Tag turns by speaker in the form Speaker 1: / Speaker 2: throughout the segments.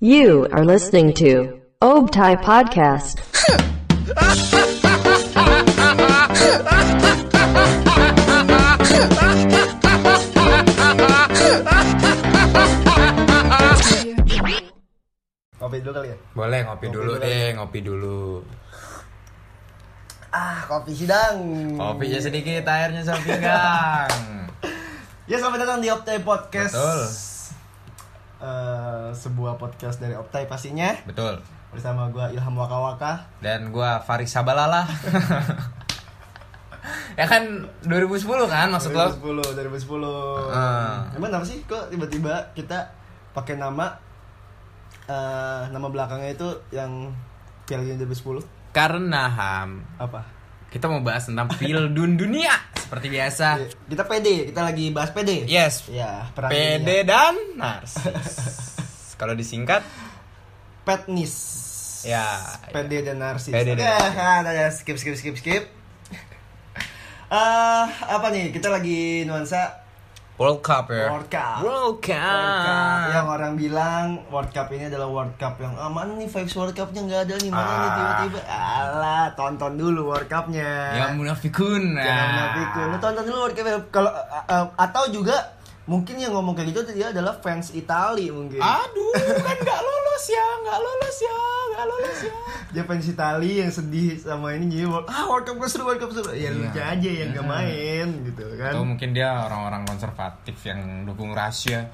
Speaker 1: You are listening to Obtai Podcast.
Speaker 2: Kopi dulu kali ya.
Speaker 3: Boleh ngopi, dulu
Speaker 2: dulu.
Speaker 3: deh, ngopi dulu.
Speaker 2: Ah, kopi sidang.
Speaker 3: Kopinya sedikit, airnya sama pinggang.
Speaker 2: Ya, selamat datang di Optai Podcast.
Speaker 3: Betul.
Speaker 2: Eh, sebuah podcast dari Optai pastinya
Speaker 3: Betul.
Speaker 2: bersama gua Ilham Waka Waka.
Speaker 3: Dan gua Faris Sabalala. ya kan 2010 kan maksud lo?
Speaker 2: 2010, 2010.
Speaker 3: Ah.
Speaker 2: Emang kenapa sih kok tiba-tiba kita pakai nama eh nama belakangnya itu yang Piala Dunia 2010
Speaker 3: Karena Ham,
Speaker 2: apa?
Speaker 3: kita mau bahas tentang Pildun Dunia seperti biasa.
Speaker 2: Ya, Kita PD, kita lagi bahas PD.
Speaker 3: Yes.
Speaker 2: Ya, perang dunia.
Speaker 3: PD dan narsis. Kalau disingkat,
Speaker 2: Petnis.
Speaker 3: Ya,
Speaker 2: PD dan narsis. Oke,
Speaker 3: PD dan narsis.
Speaker 2: ah, udah, udah, skip skip skip skip. Eh, apa nih? Kita lagi nuansa
Speaker 3: World Cup Iya, ya.
Speaker 2: World Cup.
Speaker 3: World Cup.
Speaker 2: World Cup yang orang bilang World Cup ini adalah World Cup yang aman mana nih vibes World Cupnya nggak ada nih mana nih
Speaker 3: Ah.
Speaker 2: tiba-tiba alah tonton dulu World Cupnya
Speaker 3: Yang Ya munafikun.
Speaker 2: jangan
Speaker 3: nah.
Speaker 2: menafikin lu tonton dulu World Cup kalau eh, eh, atau juga mungkin yang ngomong kayak gitu dia adalah fans Itali mungkin
Speaker 3: Aduh, kan nggak lolos ya, nggak lolos ya, nggak lolos ya.
Speaker 2: dia fans Itali yang sedih sama ini jadi World- ah World Cup gua seru World Cup seru ya
Speaker 3: Iya.
Speaker 2: lu aja yang nggak main gitu kan
Speaker 3: Atau mungkin dia orang-orang konservatif yang dukung Rusia.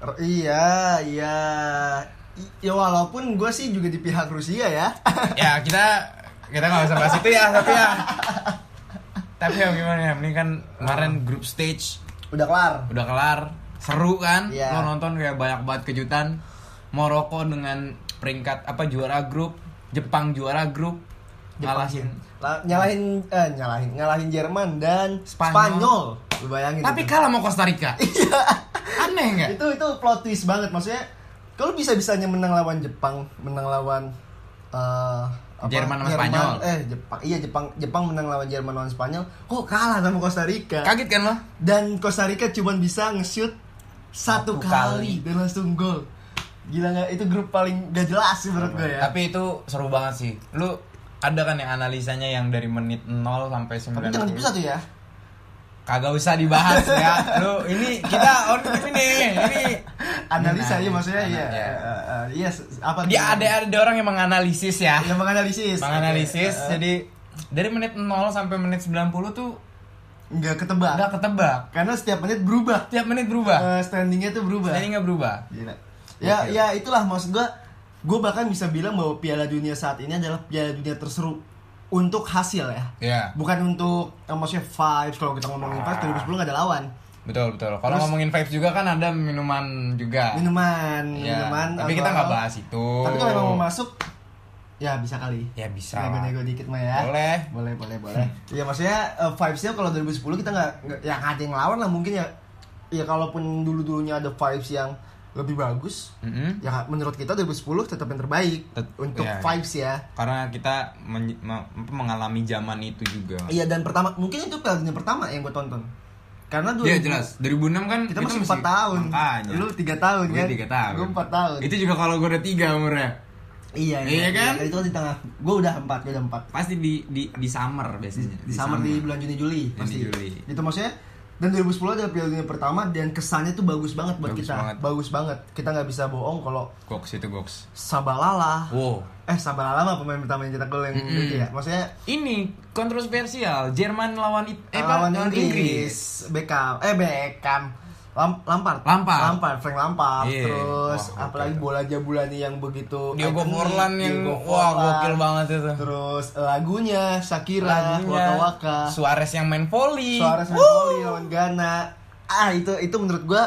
Speaker 2: R- iya iya I- ya walaupun gue sih juga di pihak Rusia ya
Speaker 3: ya kita kita nggak usah bahas itu ya, tapi ya. Tapi ya gimana ya, ini kan kemarin grup stage
Speaker 2: udah kelar
Speaker 3: udah kelar, seru kan?
Speaker 2: Iya.
Speaker 3: Lo nonton kayak banyak banget kejutan. Maroko dengan peringkat apa juara grup, Jepang juara grup, ngalahin.
Speaker 2: La- nyalahin eh, nyalahin ngalahin Jerman dan
Speaker 3: Spanyol.
Speaker 2: Spanyol, lu bayangin
Speaker 3: Tapi
Speaker 2: itu.
Speaker 3: kalah mau Costa Rica. Aneh nggak?
Speaker 2: itu itu plot twist banget maksudnya kalau bisa bisanya menang lawan Jepang menang lawan eh, apa?
Speaker 3: Jerman sama Spanyol.
Speaker 2: eh Jepang iya Jepang Jepang menang lawan Jerman lawan Spanyol kok kalah sama Costa Rica
Speaker 3: Kaget kan lo?
Speaker 2: dan Costa Rica cuma bisa nge-shoot satu
Speaker 3: Satu
Speaker 2: kali,
Speaker 3: kali.
Speaker 2: dan langsung gol gila nggak itu grup paling gak jelas sih menurut gue ya
Speaker 3: Tapi itu seru banget sih. Lu ada kan yang analisanya yang dari menit 0 sampai
Speaker 2: tapi jangan
Speaker 3: 90.
Speaker 2: dipisah tuh ya
Speaker 3: Kagak usah dibahas ya. Lu ini kita on cam ini. Ini
Speaker 2: analisa iya
Speaker 3: Analisis,
Speaker 2: maksudnya iya
Speaker 3: analisis.
Speaker 2: Eh, eh, eh, iya s- apa
Speaker 3: Dia
Speaker 2: tuh?
Speaker 3: ada ada orang yang menganalisis ya.
Speaker 2: yang Iya, menganalisis
Speaker 3: Menganalisis.
Speaker 2: Oke, eh, eh.
Speaker 3: Jadi dari menit 0 sampai menit 90 tuh
Speaker 2: nggak ketebak
Speaker 3: nggak ketebak.
Speaker 2: karena setiap menit berubah
Speaker 3: Tiap menit
Speaker 2: Eh,
Speaker 3: berubah.
Speaker 2: standingnya tuh berubah
Speaker 3: Ini nggak berubah.
Speaker 2: Gila. ya
Speaker 3: Oke.
Speaker 2: ya itulah maksud gua gue bahkan bisa bilang bahwa Piala Dunia saat ini adalah Piala Dunia terseru untuk hasil ya
Speaker 3: Ya. Ah.
Speaker 2: bukan untuk eh, maksudnya vibes kalau kita ngomongin vibes 2010 nggak ada lawan
Speaker 3: Betul betul. Kalau ngomongin vibes juga kan ada minuman juga.
Speaker 2: minuman
Speaker 3: Ah. Ya,
Speaker 2: minuman
Speaker 3: tapi kita
Speaker 2: atau-
Speaker 3: nggak bahas itu.
Speaker 2: tapi kalau emang mau masuk ya bisa kali
Speaker 3: Ya, bisa.
Speaker 2: nego-nego dikit mah ya
Speaker 3: Boleh.
Speaker 2: boleh boleh boleh ya maksudnya eh, vibesnya kalau 2010 kita nggak nggak- ya nggak ada yang lawan lah mungkin ya ya kalaupun dulu dulunya ada vibes yang lebih bagus
Speaker 3: Mm-mm.
Speaker 2: ya menurut kita 2010 tetap yang terbaik
Speaker 3: Tet-
Speaker 2: untuk
Speaker 3: ya.
Speaker 2: vibes ya
Speaker 3: karena kita men- me- mengalami zaman itu juga.
Speaker 2: iya dan pertama mungkin itu Piala Dunia pertama yang gue tonton karena dulu
Speaker 3: Iya jelas. 2006 kan
Speaker 2: kita masih empat tahun
Speaker 3: Makanya.
Speaker 2: lu tiga tahun
Speaker 3: Gua
Speaker 2: kan
Speaker 3: tiga tahun.
Speaker 2: gue empat tahun
Speaker 3: Itu juga kalau gue udah tiga umurnya.
Speaker 2: iya
Speaker 3: Iya kan?
Speaker 2: itu di tengah gue udah empat gue udah empat
Speaker 3: Pasti di di di summer biasanya.
Speaker 2: di summer di bulan Juni Juli
Speaker 3: Juni,
Speaker 2: pasti.
Speaker 3: Juli.
Speaker 2: Itu maksudnya dan 2010 adalah Piala Dunia pertama dan kesannya tuh bagus banget buat
Speaker 3: Bagus
Speaker 2: kita.
Speaker 3: banget.
Speaker 2: Bagus banget. Kita nggak bisa bohong kalau
Speaker 3: Goks itu goks.
Speaker 2: Sabalala.
Speaker 3: Wow.
Speaker 2: Eh Sabalala mah pemain pertama yang cetak gol yang
Speaker 3: Oh. Mm-mm.
Speaker 2: itu ya. Maksudnya
Speaker 3: Ini kontroversial. Jerman lawan it, eh, apa?
Speaker 2: lawan Inggris, Beckham, eh Beckham, Lam- Lampard,
Speaker 3: Lampard.
Speaker 2: Frank Lampard,
Speaker 3: Iya.
Speaker 2: terus
Speaker 3: Wah,
Speaker 2: apalagi
Speaker 3: gokil.
Speaker 2: bola jabulani yang begitu
Speaker 3: Diogo
Speaker 2: ikonik,
Speaker 3: Forlan yang
Speaker 2: Diogo
Speaker 3: wah
Speaker 2: Forlan.
Speaker 3: gokil banget itu.
Speaker 2: Terus lagunya Shakira, Waka
Speaker 3: Lagunya.
Speaker 2: Waka,
Speaker 3: Suarez yang main volley.
Speaker 2: Suarez main
Speaker 3: Wuh.
Speaker 2: volley lawan Ghana. Ah itu itu menurut gua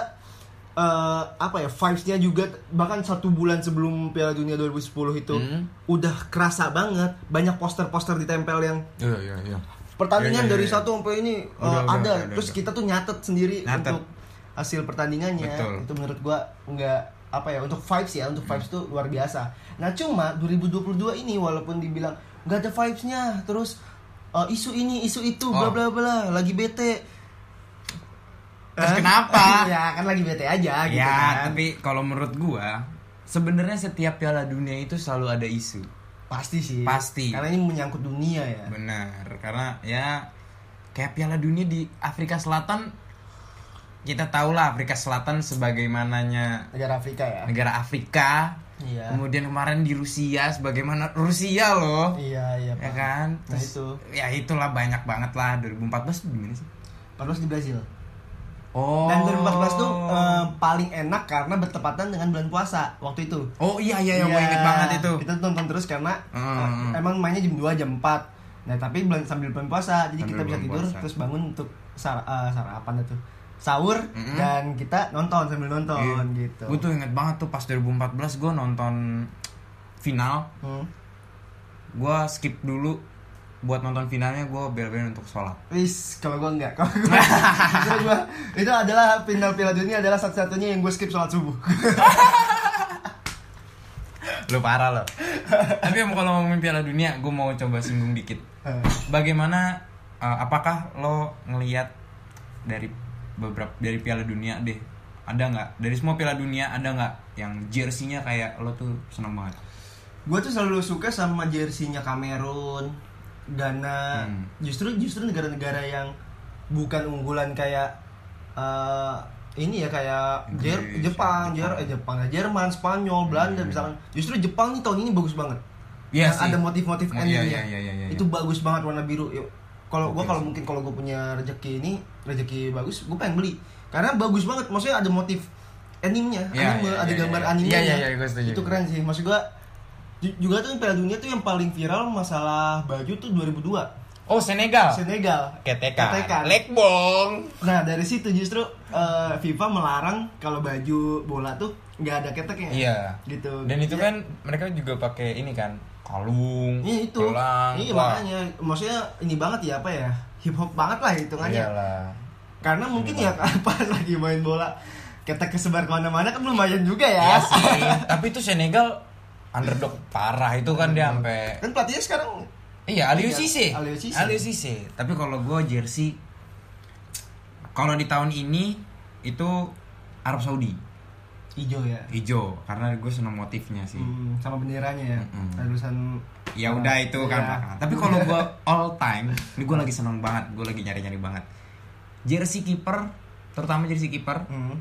Speaker 2: eh, apa ya vibes-nya juga bahkan satu bulan sebelum Piala Dunia 2010 itu
Speaker 3: Hmm.
Speaker 2: udah kerasa banget banyak poster-poster ditempel yang
Speaker 3: Iya iya iya.
Speaker 2: pertandingan
Speaker 3: Iya, iya,
Speaker 2: dari
Speaker 3: iya.
Speaker 2: satu sampai ini eh,
Speaker 3: Udah, udah,
Speaker 2: ada
Speaker 3: udah,
Speaker 2: terus
Speaker 3: udah.
Speaker 2: kita tuh nyatet sendiri
Speaker 3: Nyatet.
Speaker 2: untuk hasil pertandingannya
Speaker 3: Betul.
Speaker 2: itu menurut gua nggak apa ya untuk vibes ya untuk vibes tuh luar biasa nah cuma 2022 ini walaupun dibilang nggak ada vibesnya terus eh, isu ini isu itu bla
Speaker 3: Oh.
Speaker 2: bla bla lagi bete
Speaker 3: Terus
Speaker 2: Hah?
Speaker 3: kenapa?
Speaker 2: ya kan lagi bete aja gitu
Speaker 3: ya,
Speaker 2: kan.
Speaker 3: tapi kalau menurut gua sebenarnya setiap Piala Dunia itu selalu ada isu.
Speaker 2: Pasti sih.
Speaker 3: Pasti.
Speaker 2: Karena ini menyangkut dunia ya.
Speaker 3: Benar, karena ya kayak Piala Dunia di Afrika Selatan kita tahulah Afrika Selatan sebagaimananya
Speaker 2: Negara Afrika ya.
Speaker 3: negara Afrika.
Speaker 2: Iya.
Speaker 3: Kemudian kemarin di Rusia sebagaimana Rusia loh.
Speaker 2: Iya iya.
Speaker 3: Ya
Speaker 2: Pak.
Speaker 3: kan?
Speaker 2: Nah
Speaker 3: Terus-
Speaker 2: itu.
Speaker 3: Ya itulah banyak banget lah 2014 tuh di mana sih?
Speaker 2: Padahal di Brazil.
Speaker 3: Oh.
Speaker 2: Dan 2014 tuh eh, paling enak karena bertepatan dengan bulan puasa waktu itu.
Speaker 3: Oh iya iya, iya.
Speaker 2: Iya,
Speaker 3: gue inget banget itu.
Speaker 2: Kita nonton terus karena
Speaker 3: Hmm.
Speaker 2: eh, emang mainnya jam 2 jam 4. Nah, tapi bulan sambil bulan puasa, jadi
Speaker 3: Sambil
Speaker 2: kita bisa
Speaker 3: bulan
Speaker 2: tidur
Speaker 3: puasa.
Speaker 2: terus bangun untuk sar- eh, sarapan itu. Sahur
Speaker 3: Hmm.
Speaker 2: dan kita nonton sambil nonton
Speaker 3: Iya.
Speaker 2: gitu.
Speaker 3: Gue tuh inget banget tuh pas 2014 gue nonton final,
Speaker 2: Hmm.
Speaker 3: gue skip dulu buat nonton finalnya gue bela-belain untuk sholat.
Speaker 2: Wis, kalau gua enggak. Kalau gua, kalau gua itu adalah final Piala Dunia adalah satu-satunya yang gue skip sholat subuh.
Speaker 3: Lo parah lo. Tapi emang kalau ngomongin Piala Dunia, gue mau coba singgung dikit.
Speaker 2: Eh,
Speaker 3: Bagaimana? eh, apakah lo ngelihat dari beberapa dari Piala Dunia deh? Ada nggak dari semua Piala Dunia ada nggak yang jersey-nya kayak lo tuh seneng banget?
Speaker 2: gue tuh selalu suka sama jersinya Kamerun, Ghana.
Speaker 3: Hmm.
Speaker 2: Justru justru negara-negara yang bukan unggulan kayak eh, ini ya kayak
Speaker 3: Inggris, Hmm.
Speaker 2: Jer- Jepang, Jer- eh, Jepang, Jerman, Spanyol, Belanda misalkan. Justru Jepang nih tahun ini bagus banget.
Speaker 3: Iya
Speaker 2: Yang
Speaker 3: sih.
Speaker 2: ada motif-motif
Speaker 3: Iya,
Speaker 2: endingnya.
Speaker 3: iya, iya, iya, iya.
Speaker 2: Itu bagus banget warna biru. Yuk, Kalau gua
Speaker 3: Oke,
Speaker 2: kalau
Speaker 3: sih.
Speaker 2: mungkin kalau gue punya rezeki ini rezeki bagus, gue pengen beli. Karena bagus banget. Maksudnya ada motif animenya,
Speaker 3: Iya,
Speaker 2: anime,
Speaker 3: iya,
Speaker 2: ada
Speaker 3: iya,
Speaker 2: gambar
Speaker 3: iya.
Speaker 2: animenya.
Speaker 3: Iya, iya, iya, gua setuju.
Speaker 2: Itu keren sih. Maksud gue juga tuh Piala Dunia tuh yang paling viral masalah baju tuh 2002
Speaker 3: Oh Senegal. kan?
Speaker 2: Senegal Ketekan.
Speaker 3: Lekbong.
Speaker 2: Nah dari situ justru eh, FIFA melarang kalau baju bola tuh nggak ada keteknya.
Speaker 3: Iya.
Speaker 2: Gitu.
Speaker 3: Dan itu
Speaker 2: Iya.
Speaker 3: kan mereka juga pakai ini kan kalung,
Speaker 2: Iya itu.
Speaker 3: gelang.
Speaker 2: Iya
Speaker 3: Wah,
Speaker 2: makanya maksudnya ini banget ya apa ya hip hop banget lah hitungannya.
Speaker 3: Iyalah.
Speaker 2: Karena mungkin ya apa lagi main bola ketek kesebar kemana-mana kan lumayan juga ya.
Speaker 3: Iya sih. Tapi itu Senegal underdog parah itu kan dia sampai
Speaker 2: Kan pelatihnya sekarang
Speaker 3: Iya, Aliou Cisse.
Speaker 2: Aliou Cisse.
Speaker 3: Aliou Cisse. Tapi kalau gue jersey kalau di tahun ini itu Arab Saudi
Speaker 2: hijau ya.
Speaker 3: hijau karena gue seneng motifnya sih.
Speaker 2: Hmm, sama benderanya ya.
Speaker 3: Mm-mm.
Speaker 2: Harusan
Speaker 3: ya udah itu kan
Speaker 2: Iya.
Speaker 3: belakangan. tapi kalau gue all time ini gue lagi seneng banget gue lagi nyari nyari banget jersey kiper terutama jersey kiper
Speaker 2: Hmm.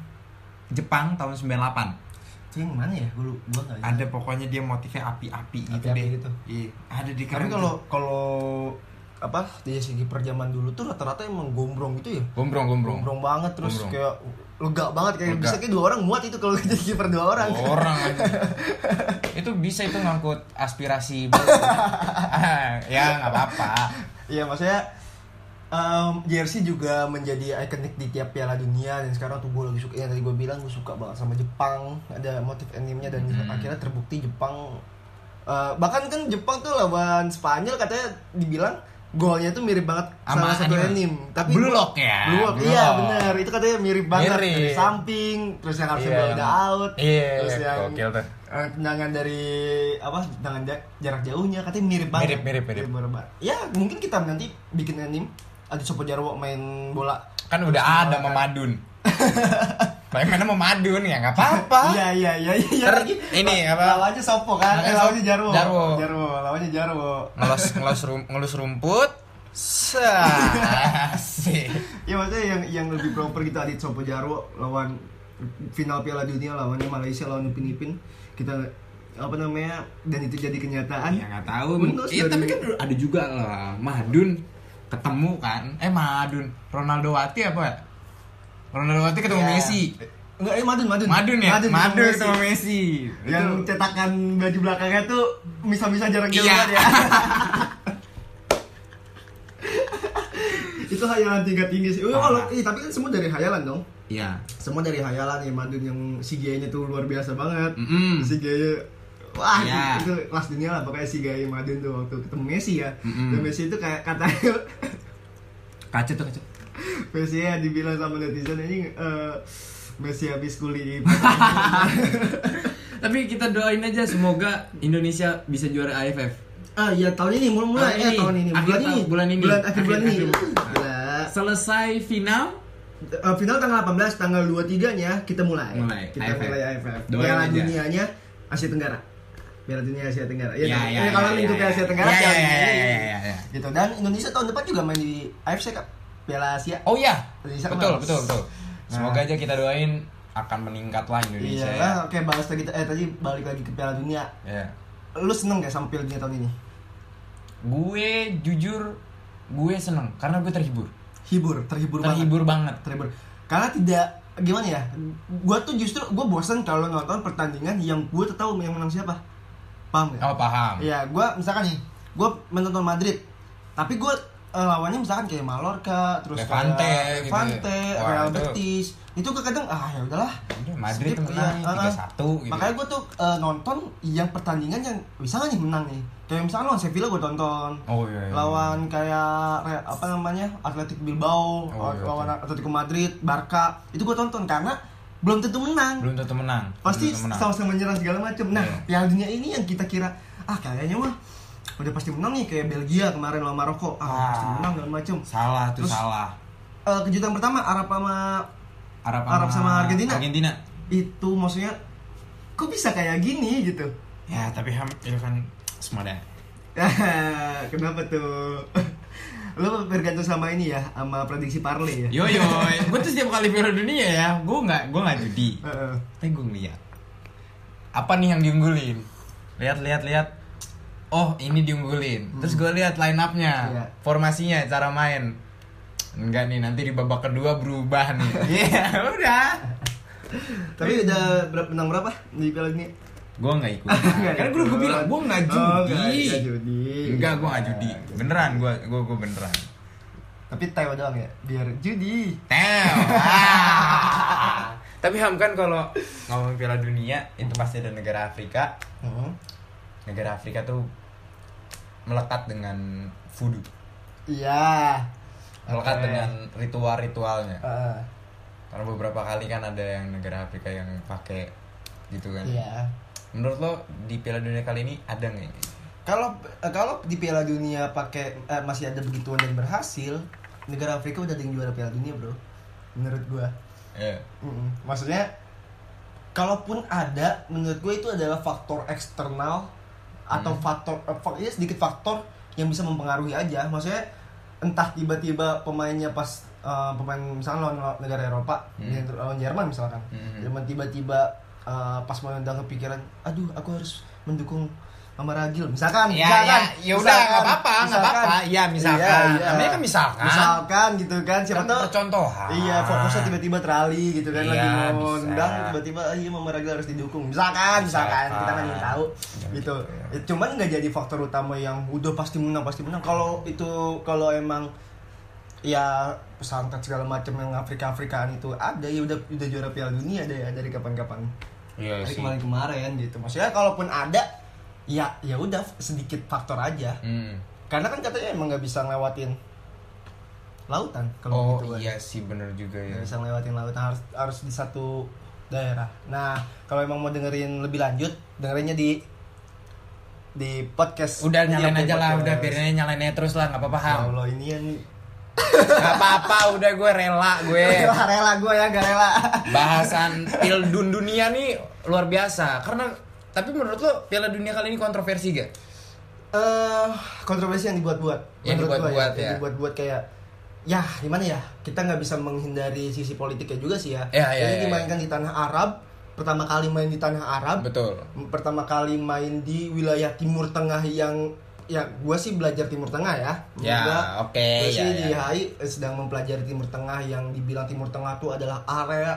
Speaker 3: Jepang tahun 98
Speaker 2: Itu yang mana ya? Gue gua enggak
Speaker 3: ada pokoknya dia motifnya api-api gitu
Speaker 2: Api-api
Speaker 3: deh
Speaker 2: gitu.
Speaker 3: Iya, ada di
Speaker 2: Tapi
Speaker 3: keren
Speaker 2: kalau
Speaker 3: tuh.
Speaker 2: kalau apa di segi perjaman dulu tuh rata-rata emang gombrong gitu ya.
Speaker 3: gombrong gombrong
Speaker 2: Gombrong banget terus
Speaker 3: Gombrong.
Speaker 2: kayak lega banget kayak
Speaker 3: Lega. Oh,
Speaker 2: bisa kayak dua orang muat itu kalau jadi kiper dua orang.
Speaker 3: orang aja. itu bisa itu ngangkut aspirasi bro. ya nggak apa-apa
Speaker 2: Iya maksudnya em, jersey juga menjadi ikonik di tiap Piala Dunia dan sekarang tuh gue lagi suka yang tadi gue bilang gue suka banget sama Jepang ada motif animenya dan
Speaker 3: Hmm.
Speaker 2: akhirnya terbukti Jepang eh, bahkan kan Jepang tuh lawan Spanyol katanya dibilang golnya tuh mirip banget salah
Speaker 3: Sama
Speaker 2: satu
Speaker 3: anime.
Speaker 2: anim tapi
Speaker 3: Blue Lock ya?
Speaker 2: Blue Lock,
Speaker 3: Blue
Speaker 2: iya
Speaker 3: Lock.
Speaker 2: benar itu katanya mirip banget
Speaker 3: Mirip.
Speaker 2: dari samping terus yang harusnya
Speaker 3: Iya,
Speaker 2: udah
Speaker 3: yang-
Speaker 2: out
Speaker 3: iya,
Speaker 2: terus
Speaker 3: iya,
Speaker 2: yang
Speaker 3: gokil tuh.
Speaker 2: eh, tendangan dari apa tendangan ja- jarak jauhnya katanya mirip banget
Speaker 3: Mirip, mirip, mirip.
Speaker 2: Barbar. Ya mungkin kita nanti bikin anime ada Sopo Jarwo main bola.
Speaker 3: kan udah ada memadun Bagaimana memadun ya nggak apa-apa
Speaker 2: Iya iya iya iya.
Speaker 3: Ter-
Speaker 2: lagi.
Speaker 3: ini apa?
Speaker 2: Lawannya Sopo kan? Eh, lawannya
Speaker 3: Lawannya Sopo.
Speaker 2: Jarwo.
Speaker 3: Jarwo.
Speaker 2: Jarwo, lawannya Jarwo.
Speaker 3: ngelos ngelos rum- ngelus rumput Sah, asik.
Speaker 2: Ya maksudnya yang yang lebih proper gitu Adit Sopo Jarwo lawan final Piala Dunia lawannya Malaysia lawan Upin Ipin. Kita apa namanya dan itu jadi kenyataan
Speaker 3: ya nggak tahu
Speaker 2: Windows
Speaker 3: Iya,
Speaker 2: dari-
Speaker 3: tapi kan ada juga lah Madun ketemu kan eh Madun Ronaldo Wati apa ya? Ronaldo Wati ketemu
Speaker 2: Ya.
Speaker 3: Messi
Speaker 2: enggak eh Madun Madun
Speaker 3: Madun ya Madun,
Speaker 2: ketemu Messi.
Speaker 3: Iya. ketemu Messi
Speaker 2: yang
Speaker 3: Itu-
Speaker 2: cetakan baju belakangnya tuh misah-misah jarak jauh
Speaker 3: Iya.
Speaker 2: banget ya. itu hayalan tingkat tinggi sih. Oh, kalau
Speaker 3: Parah.
Speaker 2: ih, tapi kan semua dari hayalan dong.
Speaker 3: Iya.
Speaker 2: Semua dari hayalan ya Madun yang CGI-nya tuh luar biasa banget.
Speaker 3: Mm-mm.
Speaker 2: CGI-nya wah
Speaker 3: Iya.
Speaker 2: itu, itu kelas dunia lah pokoknya CGI Madun tuh waktu ketemu Messi ya.
Speaker 3: Mm-mm.
Speaker 2: Dan Messi itu kayak katanya
Speaker 3: kacau tuh kacau
Speaker 2: Messi ya dibilang sama netizen ini eh, Messi habis kuliah.
Speaker 3: tapi kita doain aja semoga Indonesia bisa juara AFF
Speaker 2: ah ya tahun ini mulai mulai
Speaker 3: Tahun
Speaker 2: eh
Speaker 3: ini.
Speaker 2: tahun ini
Speaker 3: Akhir
Speaker 2: bulan
Speaker 3: tahun-
Speaker 2: ini
Speaker 3: bulan ini.
Speaker 2: bulan akhir bulan
Speaker 3: Akhir-
Speaker 2: ini.
Speaker 3: akhir bulan.
Speaker 2: Gila.
Speaker 3: selesai final
Speaker 2: Eh, final tanggal 18, tanggal 23-nya kita mulai.
Speaker 3: Mulai,
Speaker 2: Kita
Speaker 3: AFF.
Speaker 2: mulai AFF.
Speaker 3: Doain
Speaker 2: Piala
Speaker 3: aja.
Speaker 2: dunianya Asia Tenggara. Piala dunia Asia Tenggara.
Speaker 3: Ya,
Speaker 2: kan?
Speaker 3: ya,
Speaker 2: Ini kalau
Speaker 3: ya,
Speaker 2: link ke
Speaker 3: ya, ya.
Speaker 2: Asia Tenggara.
Speaker 3: Ya, ya,
Speaker 2: Piala
Speaker 3: ya,
Speaker 2: Dunia.
Speaker 3: ya, ya, ya.
Speaker 2: Gitu. Dan Indonesia tahun depan juga main di AFC Cup. Piala Asia.
Speaker 3: Oh iya,
Speaker 2: Bisa
Speaker 3: betul,
Speaker 2: kemarin.
Speaker 3: betul, betul.
Speaker 2: Nah.
Speaker 3: Semoga aja kita doain akan meningkat lah Indonesia
Speaker 2: Iya
Speaker 3: ya.
Speaker 2: lah, oke bahas tadi eh tadi balik lagi ke Piala Dunia.
Speaker 3: Iya.
Speaker 2: Lu seneng gak sama Piala Dunia tahun ini?
Speaker 3: Gue jujur gue seneng karena gue terhibur.
Speaker 2: Hibur, terhibur, banget.
Speaker 3: terhibur banget.
Speaker 2: Terhibur. Karena tidak gimana ya? Gua tuh justru gua bosen kalau nonton pertandingan yang gua tuh tahu yang menang siapa. Paham gak?
Speaker 3: Oh paham.
Speaker 2: Iya, gua misalkan nih, gua menonton Madrid. Tapi gua eh, lawannya misalkan kayak Mallorca, terus
Speaker 3: Levante,
Speaker 2: kayak
Speaker 3: gitu.
Speaker 2: Levante,
Speaker 3: Wah,
Speaker 2: Real
Speaker 3: itu-
Speaker 2: Betis. Itu gua kadang ah ya udahlah.
Speaker 3: Udah, Madrid
Speaker 2: Skip,
Speaker 3: menang
Speaker 2: iya,
Speaker 3: tiga
Speaker 2: uh-uh.
Speaker 3: satu gitu.
Speaker 2: Makanya gue tuh eh, nonton yang pertandingan yang misalnya nih menang nih. Kayak misalnya lawan Sevilla gue tonton.
Speaker 3: Oh iya. iya.
Speaker 2: Lawan kayak Re- apa namanya? Athletic Bilbao,
Speaker 3: Oh,
Speaker 2: lawan-
Speaker 3: iya,
Speaker 2: lawan Atletico Madrid, Barca. Itu gue tonton karena belum tentu menang.
Speaker 3: belum tentu menang.
Speaker 2: Pasti
Speaker 3: Belum tentu menang. Iya.
Speaker 2: sama-sama menyerang segala macam. Nah, Piala Dunia ini yang kita kira ah kayaknya mah udah pasti menang nih kayak Belgia kemarin lawan Maroko. Ah,
Speaker 3: Ah.
Speaker 2: pasti menang segala macam.
Speaker 3: Salah tuh
Speaker 2: Terus-
Speaker 3: salah.
Speaker 2: Eh, kejutan pertama Arab sama
Speaker 3: Arab,
Speaker 2: Arab sama Argentina.
Speaker 3: Argentina.
Speaker 2: itu maksudnya kok bisa kayak gini gitu
Speaker 3: Ya tapi ham itu kan semada.
Speaker 2: kenapa tuh lo bergantung sama ini ya sama prediksi parley ya
Speaker 3: Yo yo, gue tuh setiap kali Piala Dunia ya, gue nggak gue nggak judi.
Speaker 2: Heeh.
Speaker 3: Tapi gue ngeliat Apa nih yang diunggulin Lihat lihat lihat Oh ini diunggulin Terus gue lihat line upnya
Speaker 2: Hmm. Iya.
Speaker 3: Formasinya cara main Enggak nih nanti di babak kedua berubah nih Iya udah
Speaker 2: tapi udah berapa menang berapa di piala dunia
Speaker 3: Gue nggak ikut
Speaker 2: Nggak
Speaker 3: Karena gue
Speaker 2: ikut.
Speaker 3: bilang gue nggak
Speaker 2: Oh, nggak-
Speaker 3: judi
Speaker 2: nggak judi.
Speaker 3: Enggak gue nggak judi Beneran gue gue gue beneran
Speaker 2: tapi Taiwan doang ya biar judi
Speaker 3: Teo ah. Tapi Ham kan kalau ngomong Piala Dunia itu pasti ada negara Afrika
Speaker 2: Heeh.
Speaker 3: negara Afrika tuh melekat dengan voodoo,
Speaker 2: iya
Speaker 3: melekat
Speaker 2: Oke.
Speaker 3: dengan ritual-ritualnya.
Speaker 2: Heeh.
Speaker 3: Karena beberapa kali kan ada yang negara Afrika yang pakai gitu kan.
Speaker 2: iya
Speaker 3: Menurut lo di Piala Dunia kali ini ada nggak gitu? ini?
Speaker 2: kalau eh, kalau di piala dunia pakai eh, masih ada begituan dan berhasil negara Afrika udah ada yang juara piala dunia bro menurut gua
Speaker 3: Eh,
Speaker 2: Mm-mm. Maksudnya, kalaupun ada, menurut gue itu adalah faktor eksternal atau
Speaker 3: Hmm.
Speaker 2: faktor, eh, fak- ya sedikit faktor yang bisa mempengaruhi aja. Maksudnya, entah tiba-tiba pemainnya pas eh, pemain misalnya lawan lawan negara Eropa,
Speaker 3: Hmm.
Speaker 2: dia- lawan Jerman misalkan,
Speaker 3: Mhm.
Speaker 2: Jerman tiba-tiba eh, pas mau nendang kepikiran, aduh aku harus mendukung sama Ragil misalkan
Speaker 3: Ya,
Speaker 2: misalkan,
Speaker 3: ya, ya udah,
Speaker 2: misalkan,
Speaker 3: nggak apa-apa, nggak
Speaker 2: misalkan.
Speaker 3: apa-apa. Ya, misalkan.
Speaker 2: Iya, iya.
Speaker 3: Namanya kan misalkan.
Speaker 2: misalkan gitu kan siapa
Speaker 3: Kan
Speaker 2: tahu
Speaker 3: percontohan.
Speaker 2: iya fokusnya tiba-tiba terali gitu kan lagi
Speaker 3: Iya,
Speaker 2: mau
Speaker 3: bisa.
Speaker 2: nendang tiba-tiba "Ah, iya Mama Ragil harus didukung misalkan misalkan,
Speaker 3: Misalkan.
Speaker 2: kita kan belum tahu
Speaker 3: Ya,
Speaker 2: gitu
Speaker 3: gitu, ya.
Speaker 2: Eh, cuman nggak jadi faktor utama yang udah pasti menang pasti menang kalau itu kalau emang ya pesantren segala macam yang Afrika Afrikaan itu ada ya udah udah juara Piala Dunia deh ya, dari kapan-kapan
Speaker 3: Iya
Speaker 2: dari
Speaker 3: sih.
Speaker 2: kemarin kemarin gitu maksudnya kalaupun ada ya ya udah sedikit faktor aja
Speaker 3: Hmm.
Speaker 2: karena kan katanya emang nggak bisa ngelewatin lautan kalau
Speaker 3: Oh
Speaker 2: gitu kan.
Speaker 3: iya sih bener juga ya.
Speaker 2: Nggak bisa ngelewatin lautan harus harus di satu daerah. Nah, kalau emang mau dengerin lebih lanjut, dengerinnya di di podcast.
Speaker 3: Udah nyalain
Speaker 2: Di
Speaker 3: aja lah,
Speaker 2: podcast.
Speaker 3: udah biarin aja nyalain aja terus lah, nggak apa-apa
Speaker 2: Iya, Ya
Speaker 3: Ham.
Speaker 2: Allah ini yang
Speaker 3: Nggak apa-apa, udah gue rela gue.
Speaker 2: Wah, rela gue ya, gak rela.
Speaker 3: bahasan Piala Dun- Dunia nih luar biasa karena tapi menurut lo Piala Dunia kali ini kontroversi gak?
Speaker 2: Eh, kontroversi yang dibuat-buat.
Speaker 3: Yang
Speaker 2: Menurut gua
Speaker 3: dibuat-buat
Speaker 2: Yang
Speaker 3: ya.
Speaker 2: dibuat-buat kayak ya gimana ya kita nggak bisa menghindari sisi politiknya juga sih ya.
Speaker 3: Ya, ya,
Speaker 2: Ini
Speaker 3: ya,
Speaker 2: dimainkan di tanah Arab, pertama kali main di tanah Arab.
Speaker 3: Betul.
Speaker 2: pertama kali main di wilayah Timur Tengah yang ya gue sih belajar Timur Tengah ya.
Speaker 3: Ya,
Speaker 2: Gua-
Speaker 3: oke,
Speaker 2: gua sih
Speaker 3: ya,
Speaker 2: di
Speaker 3: ya.
Speaker 2: HI sedang mempelajari Timur Tengah yang dibilang Timur Tengah itu adalah area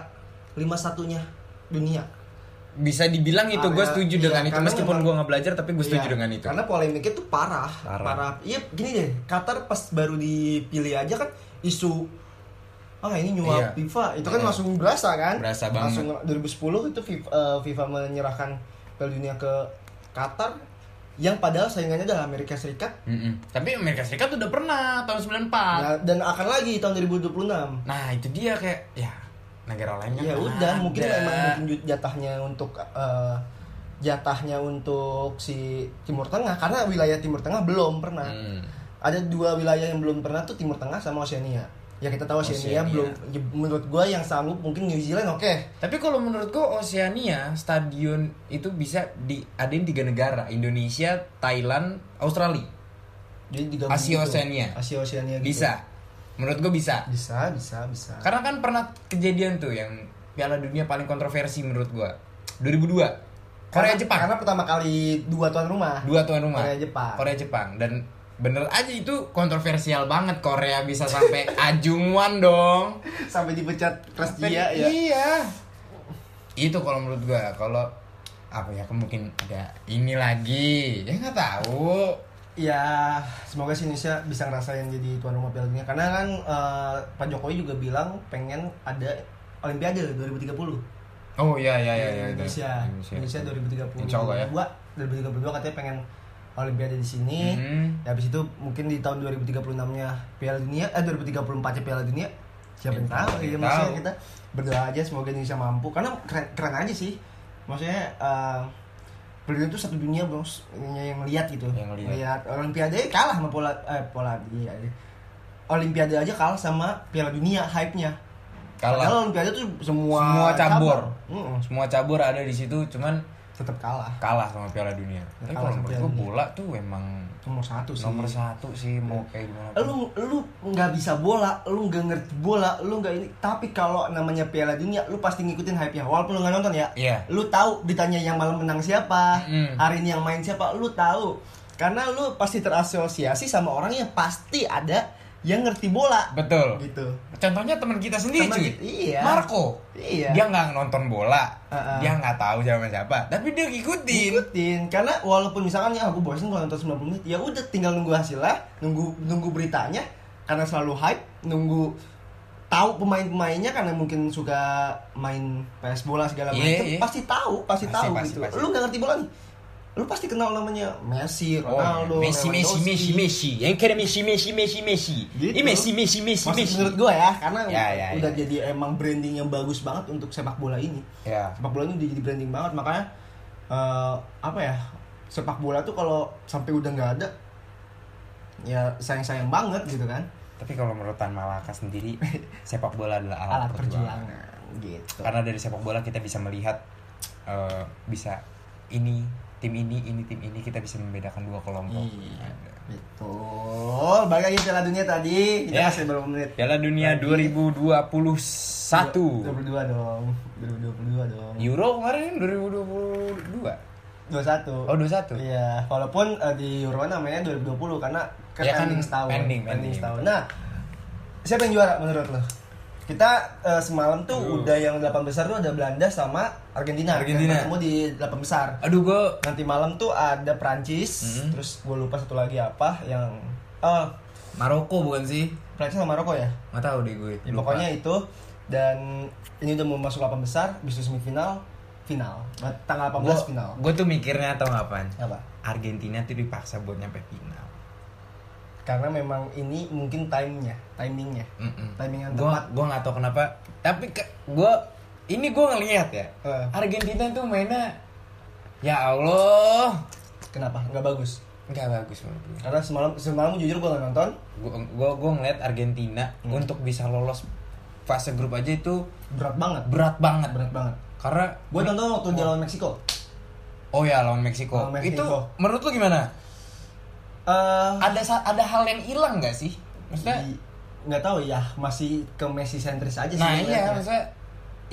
Speaker 2: lima satunya dunia.
Speaker 3: Bisa dibilang itu gue
Speaker 2: Karena-
Speaker 3: setuju
Speaker 2: iya,
Speaker 3: dengan itu
Speaker 2: karena
Speaker 3: meskipun
Speaker 2: memang-
Speaker 3: gue nggak belajar tapi gue setuju
Speaker 2: Iya,
Speaker 3: dengan itu.
Speaker 2: Karena polemiknya tuh parah, parah.
Speaker 3: Parah.
Speaker 2: Iya, gini deh, Qatar pas baru dipilih aja kan isu ah ini nyuap
Speaker 3: Iya.
Speaker 2: FIFA itu kan
Speaker 3: Iya.
Speaker 2: langsung berasa kan?
Speaker 3: Berasa
Speaker 2: Langsung
Speaker 3: banget.
Speaker 2: 2010 itu FIFA, eh, FIFA menyerahkan Piala Dunia ke Qatar yang padahal saingannya adalah Amerika Serikat
Speaker 3: Mm-mm. Tapi Amerika Serikat udah pernah tahun 94.
Speaker 2: Nah, dan akan lagi tahun 2026.
Speaker 3: Nah itu dia kayak ya negara lain kan
Speaker 2: Ya
Speaker 3: nggak
Speaker 2: udah, mungkin
Speaker 3: ada.
Speaker 2: emang mungkin jatahnya untuk eh, jatahnya untuk si Timur Tengah karena wilayah Timur Tengah belum pernah.
Speaker 3: Hmm.
Speaker 2: ada dua wilayah yang belum pernah tuh Timur Tengah sama Oceania ya kita tahu
Speaker 4: Oceania.
Speaker 2: Oceania, belum ya, menurut gua yang sanggup mungkin New Zealand oke
Speaker 3: Tapi kalau menurut gua Oceania stadion itu bisa di adain tiga negara, Indonesia, Thailand, Australia.
Speaker 2: jadi digabung gitu.
Speaker 3: Asia Oceania.
Speaker 2: Asia Oceania gitu.
Speaker 3: Bisa. Menurut gua bisa.
Speaker 2: bisa bisa bisa
Speaker 3: Karena kan pernah kejadian tuh yang Piala Dunia paling kontroversi menurut gua. 2002. Korea
Speaker 2: Karena-
Speaker 3: Jepang.
Speaker 2: karena pertama kali dua tuan rumah
Speaker 3: Dua tuan rumah.
Speaker 2: Korea Jepang.
Speaker 3: Korea Jepang dan bener aja itu kontroversial banget Korea bisa sampai ajungwan dong.
Speaker 2: sampai dipecat Pres dia
Speaker 3: Iya,
Speaker 2: ya
Speaker 3: iya. Itu kalau menurut gua, kalau apa ya mungkin ada ini lagi. Ya nggak tahu.
Speaker 2: Ya, semoga sih Indonesia bisa ngerasain jadi tuan rumah Piala Dunia. Karena kan eh, Pak Jokowi juga bilang pengen ada Olimpiade 2030.
Speaker 3: Oh iya iya iya iya.
Speaker 2: Indonesia, Indonesia 2030.
Speaker 3: gitu. Insya Allah ya.
Speaker 2: Dua, 2032 katanya pengen Olimpiade di sini.
Speaker 3: Mhm.
Speaker 2: Ya, habis itu mungkin di tahun 2036-nya Piala Dunia, eh 2034-nya Piala Dunia. Siapa yang
Speaker 3: Ya,
Speaker 2: tahu?
Speaker 3: siapa
Speaker 2: Ya,
Speaker 3: yang
Speaker 2: maksudnya
Speaker 3: tahu.
Speaker 2: kita berdoa aja semoga Indonesia mampu. Karena keren, keren aja sih. Maksudnya eh Piala Dunia itu satu dunia bro, yang lihat gitu.
Speaker 3: Yang ngeliat.
Speaker 2: Ngeliat. Olimpiade kalah sama pola eh Polandia. Olimpiade aja kalah sama Piala Dunia hype-nya.
Speaker 3: Kalah.
Speaker 2: Padahal Olimpiade tuh semua
Speaker 3: Semua cabur.
Speaker 2: Mm-mm,
Speaker 3: Semua cabur ada di situ, cuman
Speaker 2: tetap kalah.
Speaker 3: kalah sama Piala Dunia. Tapi
Speaker 2: Kalah
Speaker 3: kalau
Speaker 2: sama
Speaker 3: menurut
Speaker 2: Piala
Speaker 3: gua
Speaker 2: Dunia.
Speaker 3: bola tuh emang
Speaker 2: Nomor satu sih.
Speaker 3: nomor satu sih mau kayak gimana. pun.
Speaker 2: lu lu nggak bisa bola, lu nggak ngerti bola, lu nggak ini. Tapi kalau namanya Piala Dunia, lu pasti ngikutin hype-nya. Walaupun lu nggak nonton ya,
Speaker 3: Iya.
Speaker 2: lu tahu ditanya yang malam menang siapa,
Speaker 3: Mm.
Speaker 2: hari ini yang main siapa, lu tahu. Karena lu pasti terasosiasi sama orang yang pasti ada yang ngerti bola.
Speaker 3: Betul.
Speaker 2: Gitu.
Speaker 3: Contohnya teman kita sendiri
Speaker 2: Teman
Speaker 3: cuy.
Speaker 2: kita- iya.
Speaker 3: Marco.
Speaker 2: Iya.
Speaker 3: Dia nggak nonton bola.
Speaker 2: Uh-uh.
Speaker 3: Dia nggak tahu siapa siapa. Tapi dia ngikutin.
Speaker 2: Ikutin. Karena walaupun misalkan ya aku bosen kalau nonton 90 menit, ya udah tinggal nunggu hasilnya, nunggu nunggu beritanya karena selalu hype, nunggu tahu pemain-pemainnya karena mungkin suka main PS bola segala
Speaker 3: Iya,
Speaker 2: macam
Speaker 3: iya.
Speaker 2: pasti tahu pasti,
Speaker 3: Pasti,
Speaker 2: tahu
Speaker 3: pasti,
Speaker 2: gitu
Speaker 3: pasti.
Speaker 2: lu nggak ngerti bola nih lu pasti kenal namanya Messi Ronaldo
Speaker 3: Oh, Messi, Messi,
Speaker 2: Lewandowski.
Speaker 3: Messi, Messi, yang kira Messi, Messi, Messi, Messi,
Speaker 2: Gitu.
Speaker 3: ini Messi, Messi, Messi,
Speaker 2: Maksud
Speaker 3: Messi.
Speaker 2: menurut gue ya karena
Speaker 3: Eh, Ya, ya,
Speaker 2: udah
Speaker 3: ya.
Speaker 2: jadi emang branding yang bagus banget untuk sepak bola ini
Speaker 3: Ya.
Speaker 2: sepak bola ini udah jadi branding banget makanya eh, apa ya sepak bola tuh kalau sampai udah nggak ada ya sayang sayang banget gitu kan
Speaker 3: Tapi kalau menurut Tan Malaka sendiri, sepak bola adalah alat,
Speaker 2: alat
Speaker 3: perjuangan.
Speaker 2: perjuangan gitu
Speaker 3: Karena dari sepak bola kita bisa melihat, eh, bisa ini tim ini, ini tim ini kita bisa membedakan dua kelompok.
Speaker 2: iya betul balik lagi ke Piala Dunia tadi kita
Speaker 3: Ya.
Speaker 2: masih berapa menit
Speaker 3: Piala Dunia
Speaker 2: Lagi.
Speaker 3: 2021.
Speaker 2: 22 dong 2022 dong
Speaker 3: Euro kemarin 2022.
Speaker 2: 21
Speaker 3: Oh, 21.
Speaker 2: Iya, walaupun eh, di Euro namanya 2020 karena kan
Speaker 3: Ya kan,
Speaker 2: pending setahun.
Speaker 3: pending, pending.
Speaker 2: setahun. Nah, siapa yang juara menurut lo? Kita eh, semalam tuh
Speaker 3: Aduh.
Speaker 2: udah yang 8 besar tuh ada Belanda sama Argentina.
Speaker 3: Argentina.
Speaker 2: Yang Ketemu di 8 besar.
Speaker 3: Aduh gue
Speaker 2: Nanti malam tuh ada Prancis,
Speaker 3: Mhm.
Speaker 2: terus gue lupa satu lagi apa yang oh,
Speaker 3: Maroko bukan sih?
Speaker 2: Prancis sama Maroko ya?
Speaker 3: Nggak tahu deh gue.
Speaker 2: Ya,
Speaker 3: lupa.
Speaker 2: pokoknya itu dan ini udah mau masuk 8 besar, bisnis semifinal, final. Tanggal 18 final.
Speaker 3: Gue tuh mikirnya tau nggak, Pan?
Speaker 2: Apa?
Speaker 3: Argentina tuh dipaksa buat nyampe final.
Speaker 2: karena memang ini mungkin timenya timingnya timing yang
Speaker 3: Gue
Speaker 2: tepat
Speaker 3: gua nggak tahu kenapa. Tapi ke, gue ini gue ngelihat ya.
Speaker 2: Eh.
Speaker 3: Argentina tuh mainnya ya Allah
Speaker 2: kenapa nggak bagus
Speaker 3: nggak bagus menurut gue.
Speaker 2: karena semalam semalam jujur gue nggak nonton
Speaker 3: Gue gue ngelihat Argentina
Speaker 2: Hmm.
Speaker 3: untuk bisa lolos fase grup aja itu
Speaker 2: berat banget
Speaker 3: berat banget.
Speaker 2: berat banget
Speaker 3: Karena
Speaker 2: gue nonton waktu dia lawan Meksiko
Speaker 3: oh ya lawan Meksiko.
Speaker 2: Lawan Meksiko.
Speaker 3: Itu menurut lu gimana?
Speaker 2: eh
Speaker 3: Ada sa- ada hal yang hilang nggak sih? Ah, Maksudnya
Speaker 2: di- nggak tahu ya masih ke Messi sentris aja sih
Speaker 3: Nah
Speaker 2: gue
Speaker 3: iya
Speaker 2: liatnya.
Speaker 3: maksudnya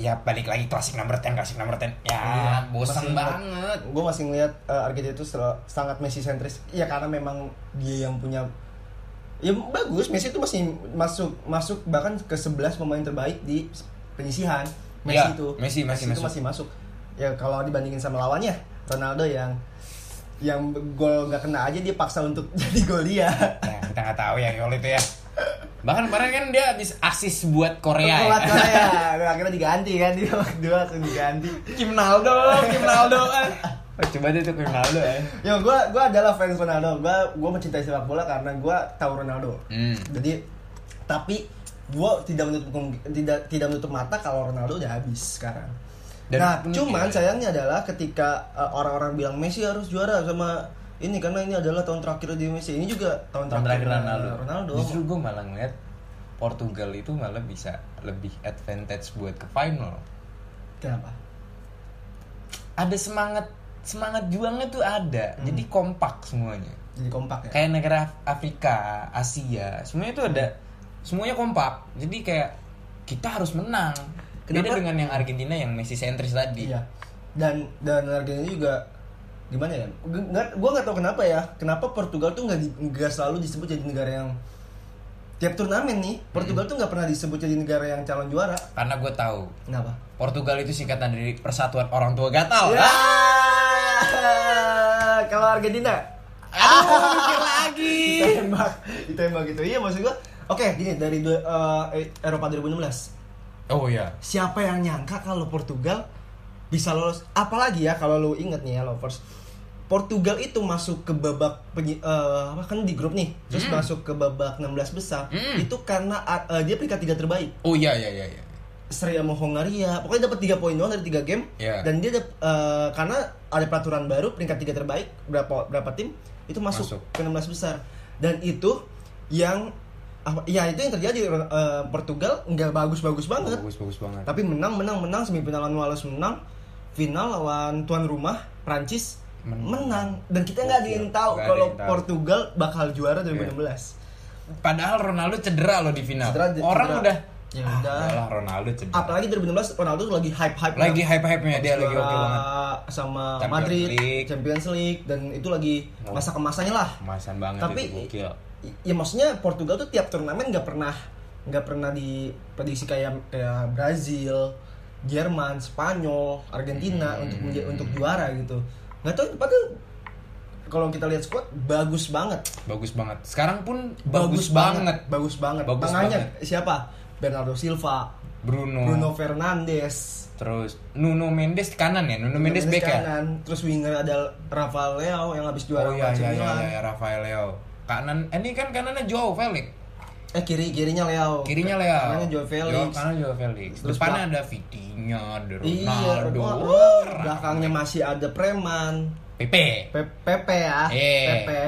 Speaker 3: ya balik lagi klasik number 10 klasik number 10 ya
Speaker 2: Iya,
Speaker 3: bosan
Speaker 2: masih-
Speaker 3: banget
Speaker 2: gue masih ngelihat eh, Argentina itu sel- sangat Messi sentris ya karena memang dia yang punya ya bagus Messi itu masih masuk masuk bahkan ke 11 pemain terbaik di penyisihan Messi
Speaker 3: Iya,
Speaker 2: itu
Speaker 3: Messi masih
Speaker 2: itu
Speaker 3: masuk.
Speaker 2: masih masuk ya kalau dibandingin sama lawannya Ronaldo yang yang gol nggak kena aja dia paksa untuk jadi gol dia
Speaker 3: ya kita nggak tahu ya Yol itu ya bahkan kemarin kan dia dis asis buat Korea ya.
Speaker 2: Kuat Korea Dan akhirnya diganti kan dia dua langsung diganti
Speaker 3: Kim Naldo Kim Naldo eh. Oh, coba deh tuh Kim Naldo ya
Speaker 2: Ya gue gua adalah fans Ronaldo. Gue gue mencintai sepak bola karena gue tahu Ronaldo.
Speaker 3: Hmm.
Speaker 2: Jadi tapi gue tidak menutup kemung- tidak tidak menutup mata kalau Ronaldo udah habis sekarang.
Speaker 3: Dan
Speaker 2: nah,
Speaker 3: mungkin-
Speaker 2: cuman sayangnya adalah ketika uh, orang-orang bilang Messi harus juara sama ini karena ini adalah tahun terakhir di Messi. Ini juga tahun
Speaker 3: tahun
Speaker 2: terakhir,
Speaker 3: terakhir Ronaldo
Speaker 2: Ronaldo.
Speaker 3: justru gue malah ngeliat Portugal itu malah bisa lebih advantage buat ke final.
Speaker 2: Kenapa?
Speaker 3: Ada semangat semangat juangnya tuh ada. Jadi kompak semuanya.
Speaker 2: Jadi kompak ya?
Speaker 3: kayak negara Af- Afrika, Asia, semuanya itu ada semuanya kompak. Jadi kayak kita harus menang. Beda
Speaker 2: Kenapa?
Speaker 3: dengan yang Argentina yang Messi sentris tadi.
Speaker 2: Iya. Dan dan harganya juga gimana ya? Gue nggak tahu kenapa ya. Kenapa Portugal tuh nggak di- nggak selalu disebut jadi negara yang tiap turnamen nih Portugal
Speaker 3: Hmm.
Speaker 2: tuh nggak pernah disebut jadi negara yang calon juara.
Speaker 3: Karena gue tahu
Speaker 2: Kenapa?
Speaker 3: Portugal itu singkatan dari Persatuan Orang Tua Gatal.
Speaker 2: Ya!
Speaker 3: Ah,
Speaker 2: Eh, Kalau Argentina
Speaker 3: Aduh, mau mikir lagi.
Speaker 2: ditembak, ditembak gitu. Iya maksud gua. Oke, gini dari dua- eh, Eropa 2016.
Speaker 3: Oh iya.
Speaker 2: siapa yang nyangka kalau Portugal bisa lolos apalagi ya kalau lu inget nih ya lovers Portugal itu masuk ke babak penyi- eh, apa kan di grup nih terus masuk ke babak 16 besar
Speaker 3: Hmm.
Speaker 2: itu karena eh, dia peringkat tiga terbaik
Speaker 3: Oh iya iya iya. iya.
Speaker 2: seri sama Hongaria pokoknya dapat tiga poin doang dari tiga game
Speaker 3: Iya.
Speaker 2: dan dia dap- eh, karena ada peraturan baru peringkat tiga terbaik berapa berapa tim itu masuk,
Speaker 3: Masuk.
Speaker 2: ke 16 besar dan itu yang apa ya itu yang terjadi eh, Portugal nggak bagus-bagus banget
Speaker 3: Bagus bagus banget.
Speaker 2: tapi menang menang menang semifinal lawan Wales menang final lawan tuan rumah Prancis
Speaker 3: Menang.
Speaker 2: menang, dan kita nggak ada yang
Speaker 3: Gokil.
Speaker 2: tahu
Speaker 3: Nggak ada
Speaker 2: kalau
Speaker 3: yang tahu.
Speaker 2: Portugal bakal juara 2016
Speaker 3: Padahal Ronaldo cedera loh di final.
Speaker 2: Cedera, cedera.
Speaker 3: Orang udah
Speaker 2: Ya
Speaker 3: "Ah,
Speaker 2: udah."
Speaker 3: udahlah, Ronaldo cedera.
Speaker 2: apalagi 2016 Ronaldo tuh lagi hype hype
Speaker 3: Iya. Lagi hype-hype-nya dia Iya, lagi oke banget.
Speaker 2: sama
Speaker 3: Champions
Speaker 2: Madrid
Speaker 3: League.
Speaker 2: Champions League dan itu lagi
Speaker 3: Oh.
Speaker 2: masa kemasannya lah
Speaker 3: Kemasan banget
Speaker 2: tapi
Speaker 3: itu gokil.
Speaker 2: i- ya maksudnya Portugal tuh tiap turnamen nggak pernah nggak pernah diprediksi kayak kayak Brazil, Jerman, Spanyol, Argentina
Speaker 3: Hmm.
Speaker 2: untuk menja- untuk juara gitu. Nggak tahu padahal kalau kita lihat squad bagus banget,
Speaker 3: Bagus banget. Sekarang pun bagus, banget.
Speaker 2: bagus banget.
Speaker 3: Bagus
Speaker 2: Tengahnya
Speaker 3: banget. Hmm.
Speaker 2: siapa? Bernardo Silva,
Speaker 3: Bruno.
Speaker 2: Bruno Fernandes,
Speaker 3: Terus Nuno Mendes di kanan ya. Nuno, Mendes
Speaker 2: Mendes
Speaker 3: back ya.
Speaker 2: kanan, terus winger ada Rafael Leao yang habis juara
Speaker 3: Oh
Speaker 2: sama
Speaker 3: iya
Speaker 2: AC
Speaker 3: iya iya,
Speaker 2: Milan.
Speaker 3: iya, Rafael Leo. Kanan eh, ini kan kanannya Joao Felix.
Speaker 2: Eh kiri kirinya Leo.
Speaker 3: Kirinya Leo.
Speaker 2: iya. Kanannya Joao Felix.
Speaker 3: Jo- kanan Joao Felix.
Speaker 2: Terus
Speaker 3: Depannya ada Vitinha, ada
Speaker 2: Iya,
Speaker 3: Ronaldo.
Speaker 2: Ronaldo.
Speaker 3: Wah,
Speaker 2: belakangnya masih ada preman,
Speaker 3: Pepe.
Speaker 2: Pe- Pepe ya,
Speaker 3: Eh.
Speaker 2: Pepe.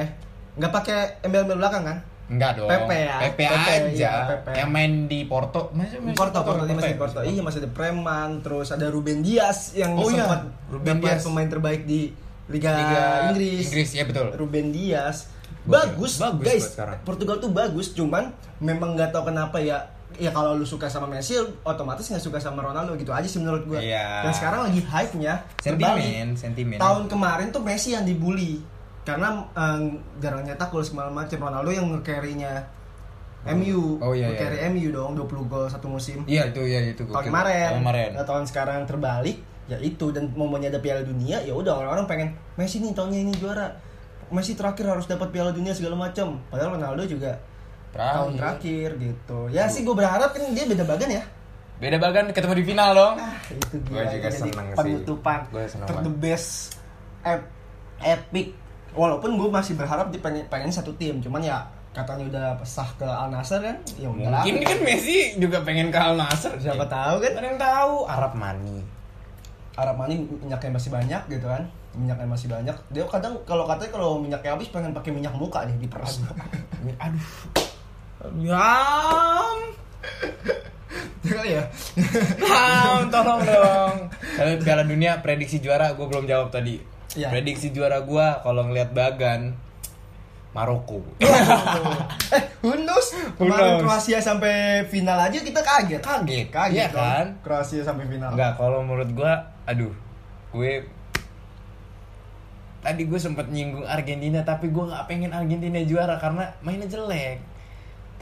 Speaker 2: Nggak pakai embel-embel belakang kan?
Speaker 3: Enggak dong.
Speaker 2: Pepe ya.
Speaker 3: Pepe
Speaker 2: Pepe,
Speaker 3: aja.
Speaker 2: iya, Pepe.
Speaker 3: Yang main di Porto. Masih, masih
Speaker 2: Porto, Porto, dia masih
Speaker 3: ya?
Speaker 2: di Porto. Iya masih ada preman, terus ada Ruben Dias yang
Speaker 3: Oh iya,
Speaker 2: sempat
Speaker 3: Ruben
Speaker 2: dapat
Speaker 3: Dias.
Speaker 2: pemain terbaik di Liga,
Speaker 3: Liga
Speaker 2: Inggris.
Speaker 3: Inggris, iya betul.
Speaker 2: Ruben Dias.
Speaker 3: Gokil.
Speaker 2: Bagus,
Speaker 3: Bagus
Speaker 2: guys.
Speaker 3: buat sekarang.
Speaker 2: Portugal tuh bagus, cuman memang nggak tahu kenapa ya ya kalau lu suka sama Messi otomatis nggak suka sama Ronaldo gitu aja sih menurut gue
Speaker 3: Iya.
Speaker 2: dan sekarang lagi hype nya
Speaker 3: Sentimen, sentimen.
Speaker 2: tahun kemarin tuh Messi yang dibully karena em, jarang nyetak gol segala macam Ronaldo yang nge-carry-nya MU
Speaker 3: Oh, iya,
Speaker 2: nge-carry
Speaker 3: iya.
Speaker 2: MU dong 20 gol satu musim
Speaker 3: Iya itu iya itu
Speaker 2: tahun
Speaker 3: gokil.
Speaker 2: kemarin,
Speaker 3: Tahun kemarin.
Speaker 2: Nah, tahun sekarang terbalik ya itu dan momennya ada Piala Dunia ya udah orang-orang pengen Messi nih tahunnya ini juara Messi terakhir harus dapat Piala Dunia segala macam padahal Ronaldo juga
Speaker 3: Terakhir.
Speaker 2: tahun terakhir gitu ya sih gue berharap kan dia beda bagan ya
Speaker 3: Beda bagan ketemu di final dong.
Speaker 2: Ah, itu
Speaker 3: Gua
Speaker 2: gila
Speaker 3: juga
Speaker 2: itu jadi
Speaker 3: seneng sih.
Speaker 2: penutupan
Speaker 3: Gua seneng
Speaker 2: ter
Speaker 3: banget.
Speaker 2: the best ep- epic walaupun gue masih berharap dia pengen pengen satu tim cuman ya katanya udah pesah ke Al Nassr kan ya udah lah
Speaker 3: Mungkin kan Messi juga pengen ke Al Nassr.
Speaker 2: siapa tahu kan
Speaker 3: Ada yang tahu Arab Mani.
Speaker 2: Arab Mani minyaknya masih banyak gitu kan minyaknya masih banyak dia kadang kalau katanya kalau minyaknya habis pengen pakai minyak muka nih diperas
Speaker 3: Aduh. Yam.
Speaker 2: kali ya
Speaker 3: Ham, tolong dong. Kalau Piala Dunia prediksi juara gue belum jawab tadi.
Speaker 2: Iya.
Speaker 3: Prediksi juara gue kalau ngelihat Bagan Maroko.
Speaker 2: eh who knows kemarin
Speaker 3: knows?
Speaker 2: Kroasia sampai final aja kita kaget
Speaker 3: Kaget,
Speaker 2: kaget
Speaker 3: Iya kan?
Speaker 2: dong. Kroasia sampai final
Speaker 3: Enggak, kalau menurut gua, aduh, gue tadi gue sempet nyinggung Argentina, tapi gua nggak pengen Argentina juara karena mainnya jelek.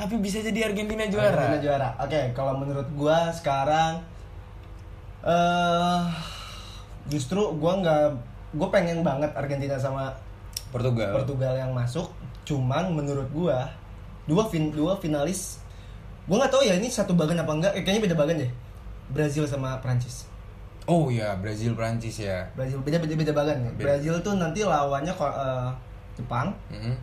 Speaker 3: Tapi bisa jadi Argentina juara.
Speaker 2: Argentina juara. Oke, kalau menurut gua sekarang eh justru gua nggak gua pengen banget Argentina sama
Speaker 3: Portugal.
Speaker 2: Portugal yang masuk. Cuman menurut gua dua fin dua finalis gua nggak tahu ya ini satu bagan apa enggak. Eh, kayaknya beda bagan deh. Brazil sama Prancis.
Speaker 3: Oh ya, Brazil Prancis ya.
Speaker 2: Brazil beda beda beda bagan ya.
Speaker 3: Beda.
Speaker 2: Brazil tuh nanti lawannya ko- eh, Jepang.
Speaker 3: Mm-mm.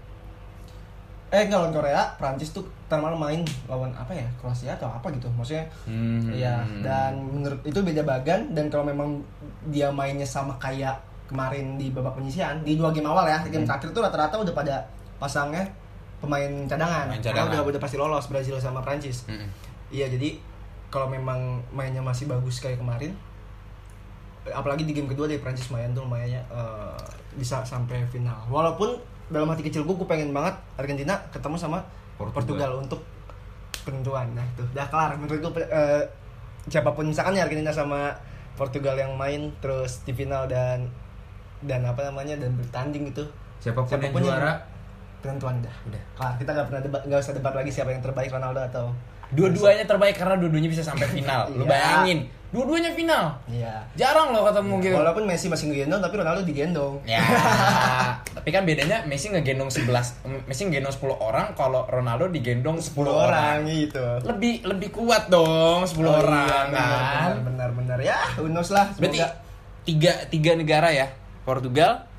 Speaker 2: Eh nggak lawan Korea, Prancis tuh ntar malam main lawan apa ya? Kroasia atau apa gitu. Maksudnya
Speaker 3: Hmm.
Speaker 2: Iya, dan menurut itu beda bagan dan kalau memang dia mainnya sama kayak
Speaker 3: Hmm.
Speaker 2: kemarin di babak penyisian di dua game awal ya, game terakhir tuh rata-rata udah pada pasangnya pemain cadangan.
Speaker 3: Pemain
Speaker 2: Karena
Speaker 3: cadangan. Hmm.
Speaker 2: udah udah pasti lolos Brazil sama Prancis.
Speaker 3: Mm-mm.
Speaker 2: Iya jadi kalau memang mainnya masih bagus kayak kemarin, apalagi di game kedua deh Prancis main tuh mainnya eh, bisa sampai final. Walaupun dalam hati kecil gue, gue pengen banget Argentina ketemu sama Portugal,
Speaker 5: Portugal.
Speaker 2: untuk penentuan. Nah itu udah kelar. Menurut gue eh, siapapun misalkan ya Argentina sama Portugal yang main terus di final dan dan apa namanya dan bertanding itu
Speaker 5: Siapapun,
Speaker 2: Siapapun
Speaker 5: yang
Speaker 2: yang-
Speaker 5: juara,
Speaker 2: penentuan dah.
Speaker 3: Udah.
Speaker 2: Kelar. Kita nggak pernah debat, nggak usah debat lagi siapa yang terbaik Ronaldo atau
Speaker 3: Dua-duanya terbaik karena dua-duanya bisa sampai final. Lu
Speaker 2: Iya.
Speaker 3: bayangin, dua-duanya final.
Speaker 2: Iya.
Speaker 3: Jarang loh ketemu gitu.
Speaker 2: Walaupun Messi masih ngegendong tapi Ronaldo digendong.
Speaker 3: Ya, tapi kan bedanya Messi ngegendong 11, M- Messi ngegendong 10 orang, kalau Ronaldo digendong 10,
Speaker 2: 10
Speaker 3: orang.
Speaker 2: orang gitu.
Speaker 3: Lebih lebih kuat dong 10
Speaker 2: Oh, iya,
Speaker 3: orang kan.
Speaker 2: benar, benar benar ya unos lah semoga
Speaker 3: Berarti tiga tiga negara ya, Portugal,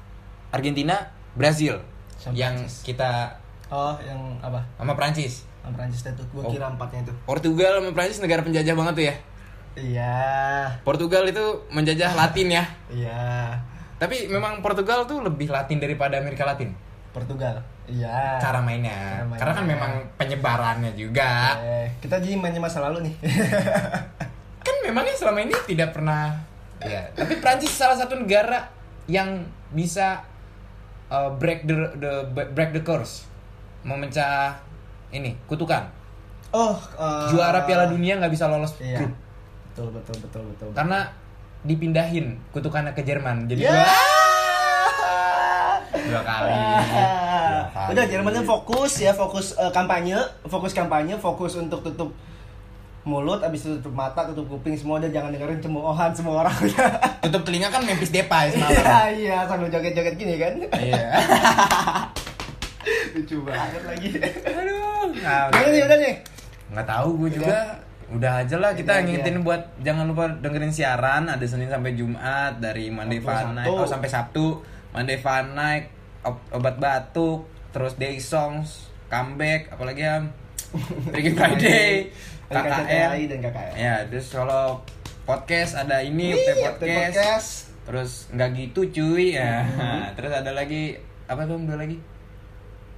Speaker 3: Argentina, Brazil.
Speaker 2: Sama
Speaker 3: yang kita
Speaker 2: oh yang apa
Speaker 3: sama Prancis.
Speaker 2: yang Prancis itu gue
Speaker 3: Oh.
Speaker 2: kira empatnya itu
Speaker 3: Portugal sama Prancis negara penjajah banget tuh ya.
Speaker 2: iya
Speaker 3: Portugal itu menjajah Latin ya.
Speaker 2: iya
Speaker 3: Tapi memang Portugal tuh lebih Latin daripada Amerika Latin.
Speaker 2: Portugal iya
Speaker 3: Cara
Speaker 2: Cara
Speaker 3: mainnya.
Speaker 2: mainnya.
Speaker 3: Karena kan memang penyebarannya juga.
Speaker 2: Eh, kita jadi mainnya masa lalu nih
Speaker 3: kan memangnya selama ini tidak pernah ya tapi Prancis salah satu negara yang bisa uh, break the, the break the curse memecah ini kutukan
Speaker 2: oh eh,
Speaker 3: juara Piala Dunia nggak bisa lolos
Speaker 2: iya
Speaker 3: grup
Speaker 2: betul betul betul betul
Speaker 3: karena dipindahin kutukannya ke Jerman jadi
Speaker 2: ya
Speaker 3: dua kali Iya.
Speaker 2: Ah, Iya. udah Jermannya fokus ya fokus eh, kampanye fokus kampanye fokus untuk tutup mulut abis itu tutup mata tutup kuping semua udah jangan dengerin cemoohan semua orang
Speaker 3: tutup telinga kan Memphis Depay
Speaker 2: Iya,
Speaker 3: semalam
Speaker 2: iya, sambil joget-joget gini kan.
Speaker 3: iya
Speaker 2: Lucu banget lagi.
Speaker 3: aduh Nah,
Speaker 2: Udah nih, udah nih.
Speaker 3: nggak tahu
Speaker 2: Iya.
Speaker 3: gue juga udah aja lah kita
Speaker 2: Ini aja.
Speaker 3: ngingetin buat jangan lupa dengerin siaran ada Senin sampai Jumat dari Monday
Speaker 2: Sabtu,
Speaker 3: Fun Night
Speaker 2: Sabtu.
Speaker 3: oh sampai Sabtu Monday Fun Night ob- obat batuk terus Day Songs comeback apalagi ya Freaky Friday
Speaker 2: Ada
Speaker 3: KKN
Speaker 2: KCTI dan KKN.
Speaker 3: ya terus kalau podcast ada ini Upte
Speaker 2: Nih, Upte
Speaker 3: podcast.
Speaker 2: Iya, Podcast. Mm-hmm.
Speaker 3: terus nggak gitu cuy ya terus ada lagi apa tuh dua lagi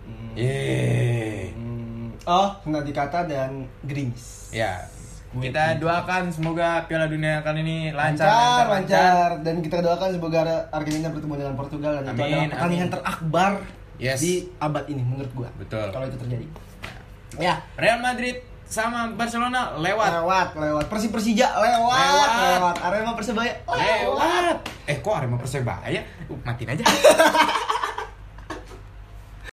Speaker 2: Mm-hmm.
Speaker 3: Yeay.
Speaker 2: Hmm, Oh, Senadi Kata dan Grimis.
Speaker 3: Ya, kita doakan semoga Piala Dunia kali ini lancar,
Speaker 2: lancar, lancar. Dan kita doakan semoga Argentina bertemu dengan Portugal dan itu
Speaker 3: Amin,
Speaker 2: adalah pertandingan
Speaker 3: amin.
Speaker 2: terakbar
Speaker 3: Yes.
Speaker 2: di abad ini menurut gua.
Speaker 3: Betul.
Speaker 2: Kalau itu terjadi.
Speaker 3: Ya, Real Madrid sama Barcelona lewat.
Speaker 2: Lewat, lewat. Persi Persija lewat,
Speaker 3: Lewat.
Speaker 2: lewat. Arema Persebaya lewat.
Speaker 3: Lewat. Eh, kok Arema Persebaya? Uh, matiin aja.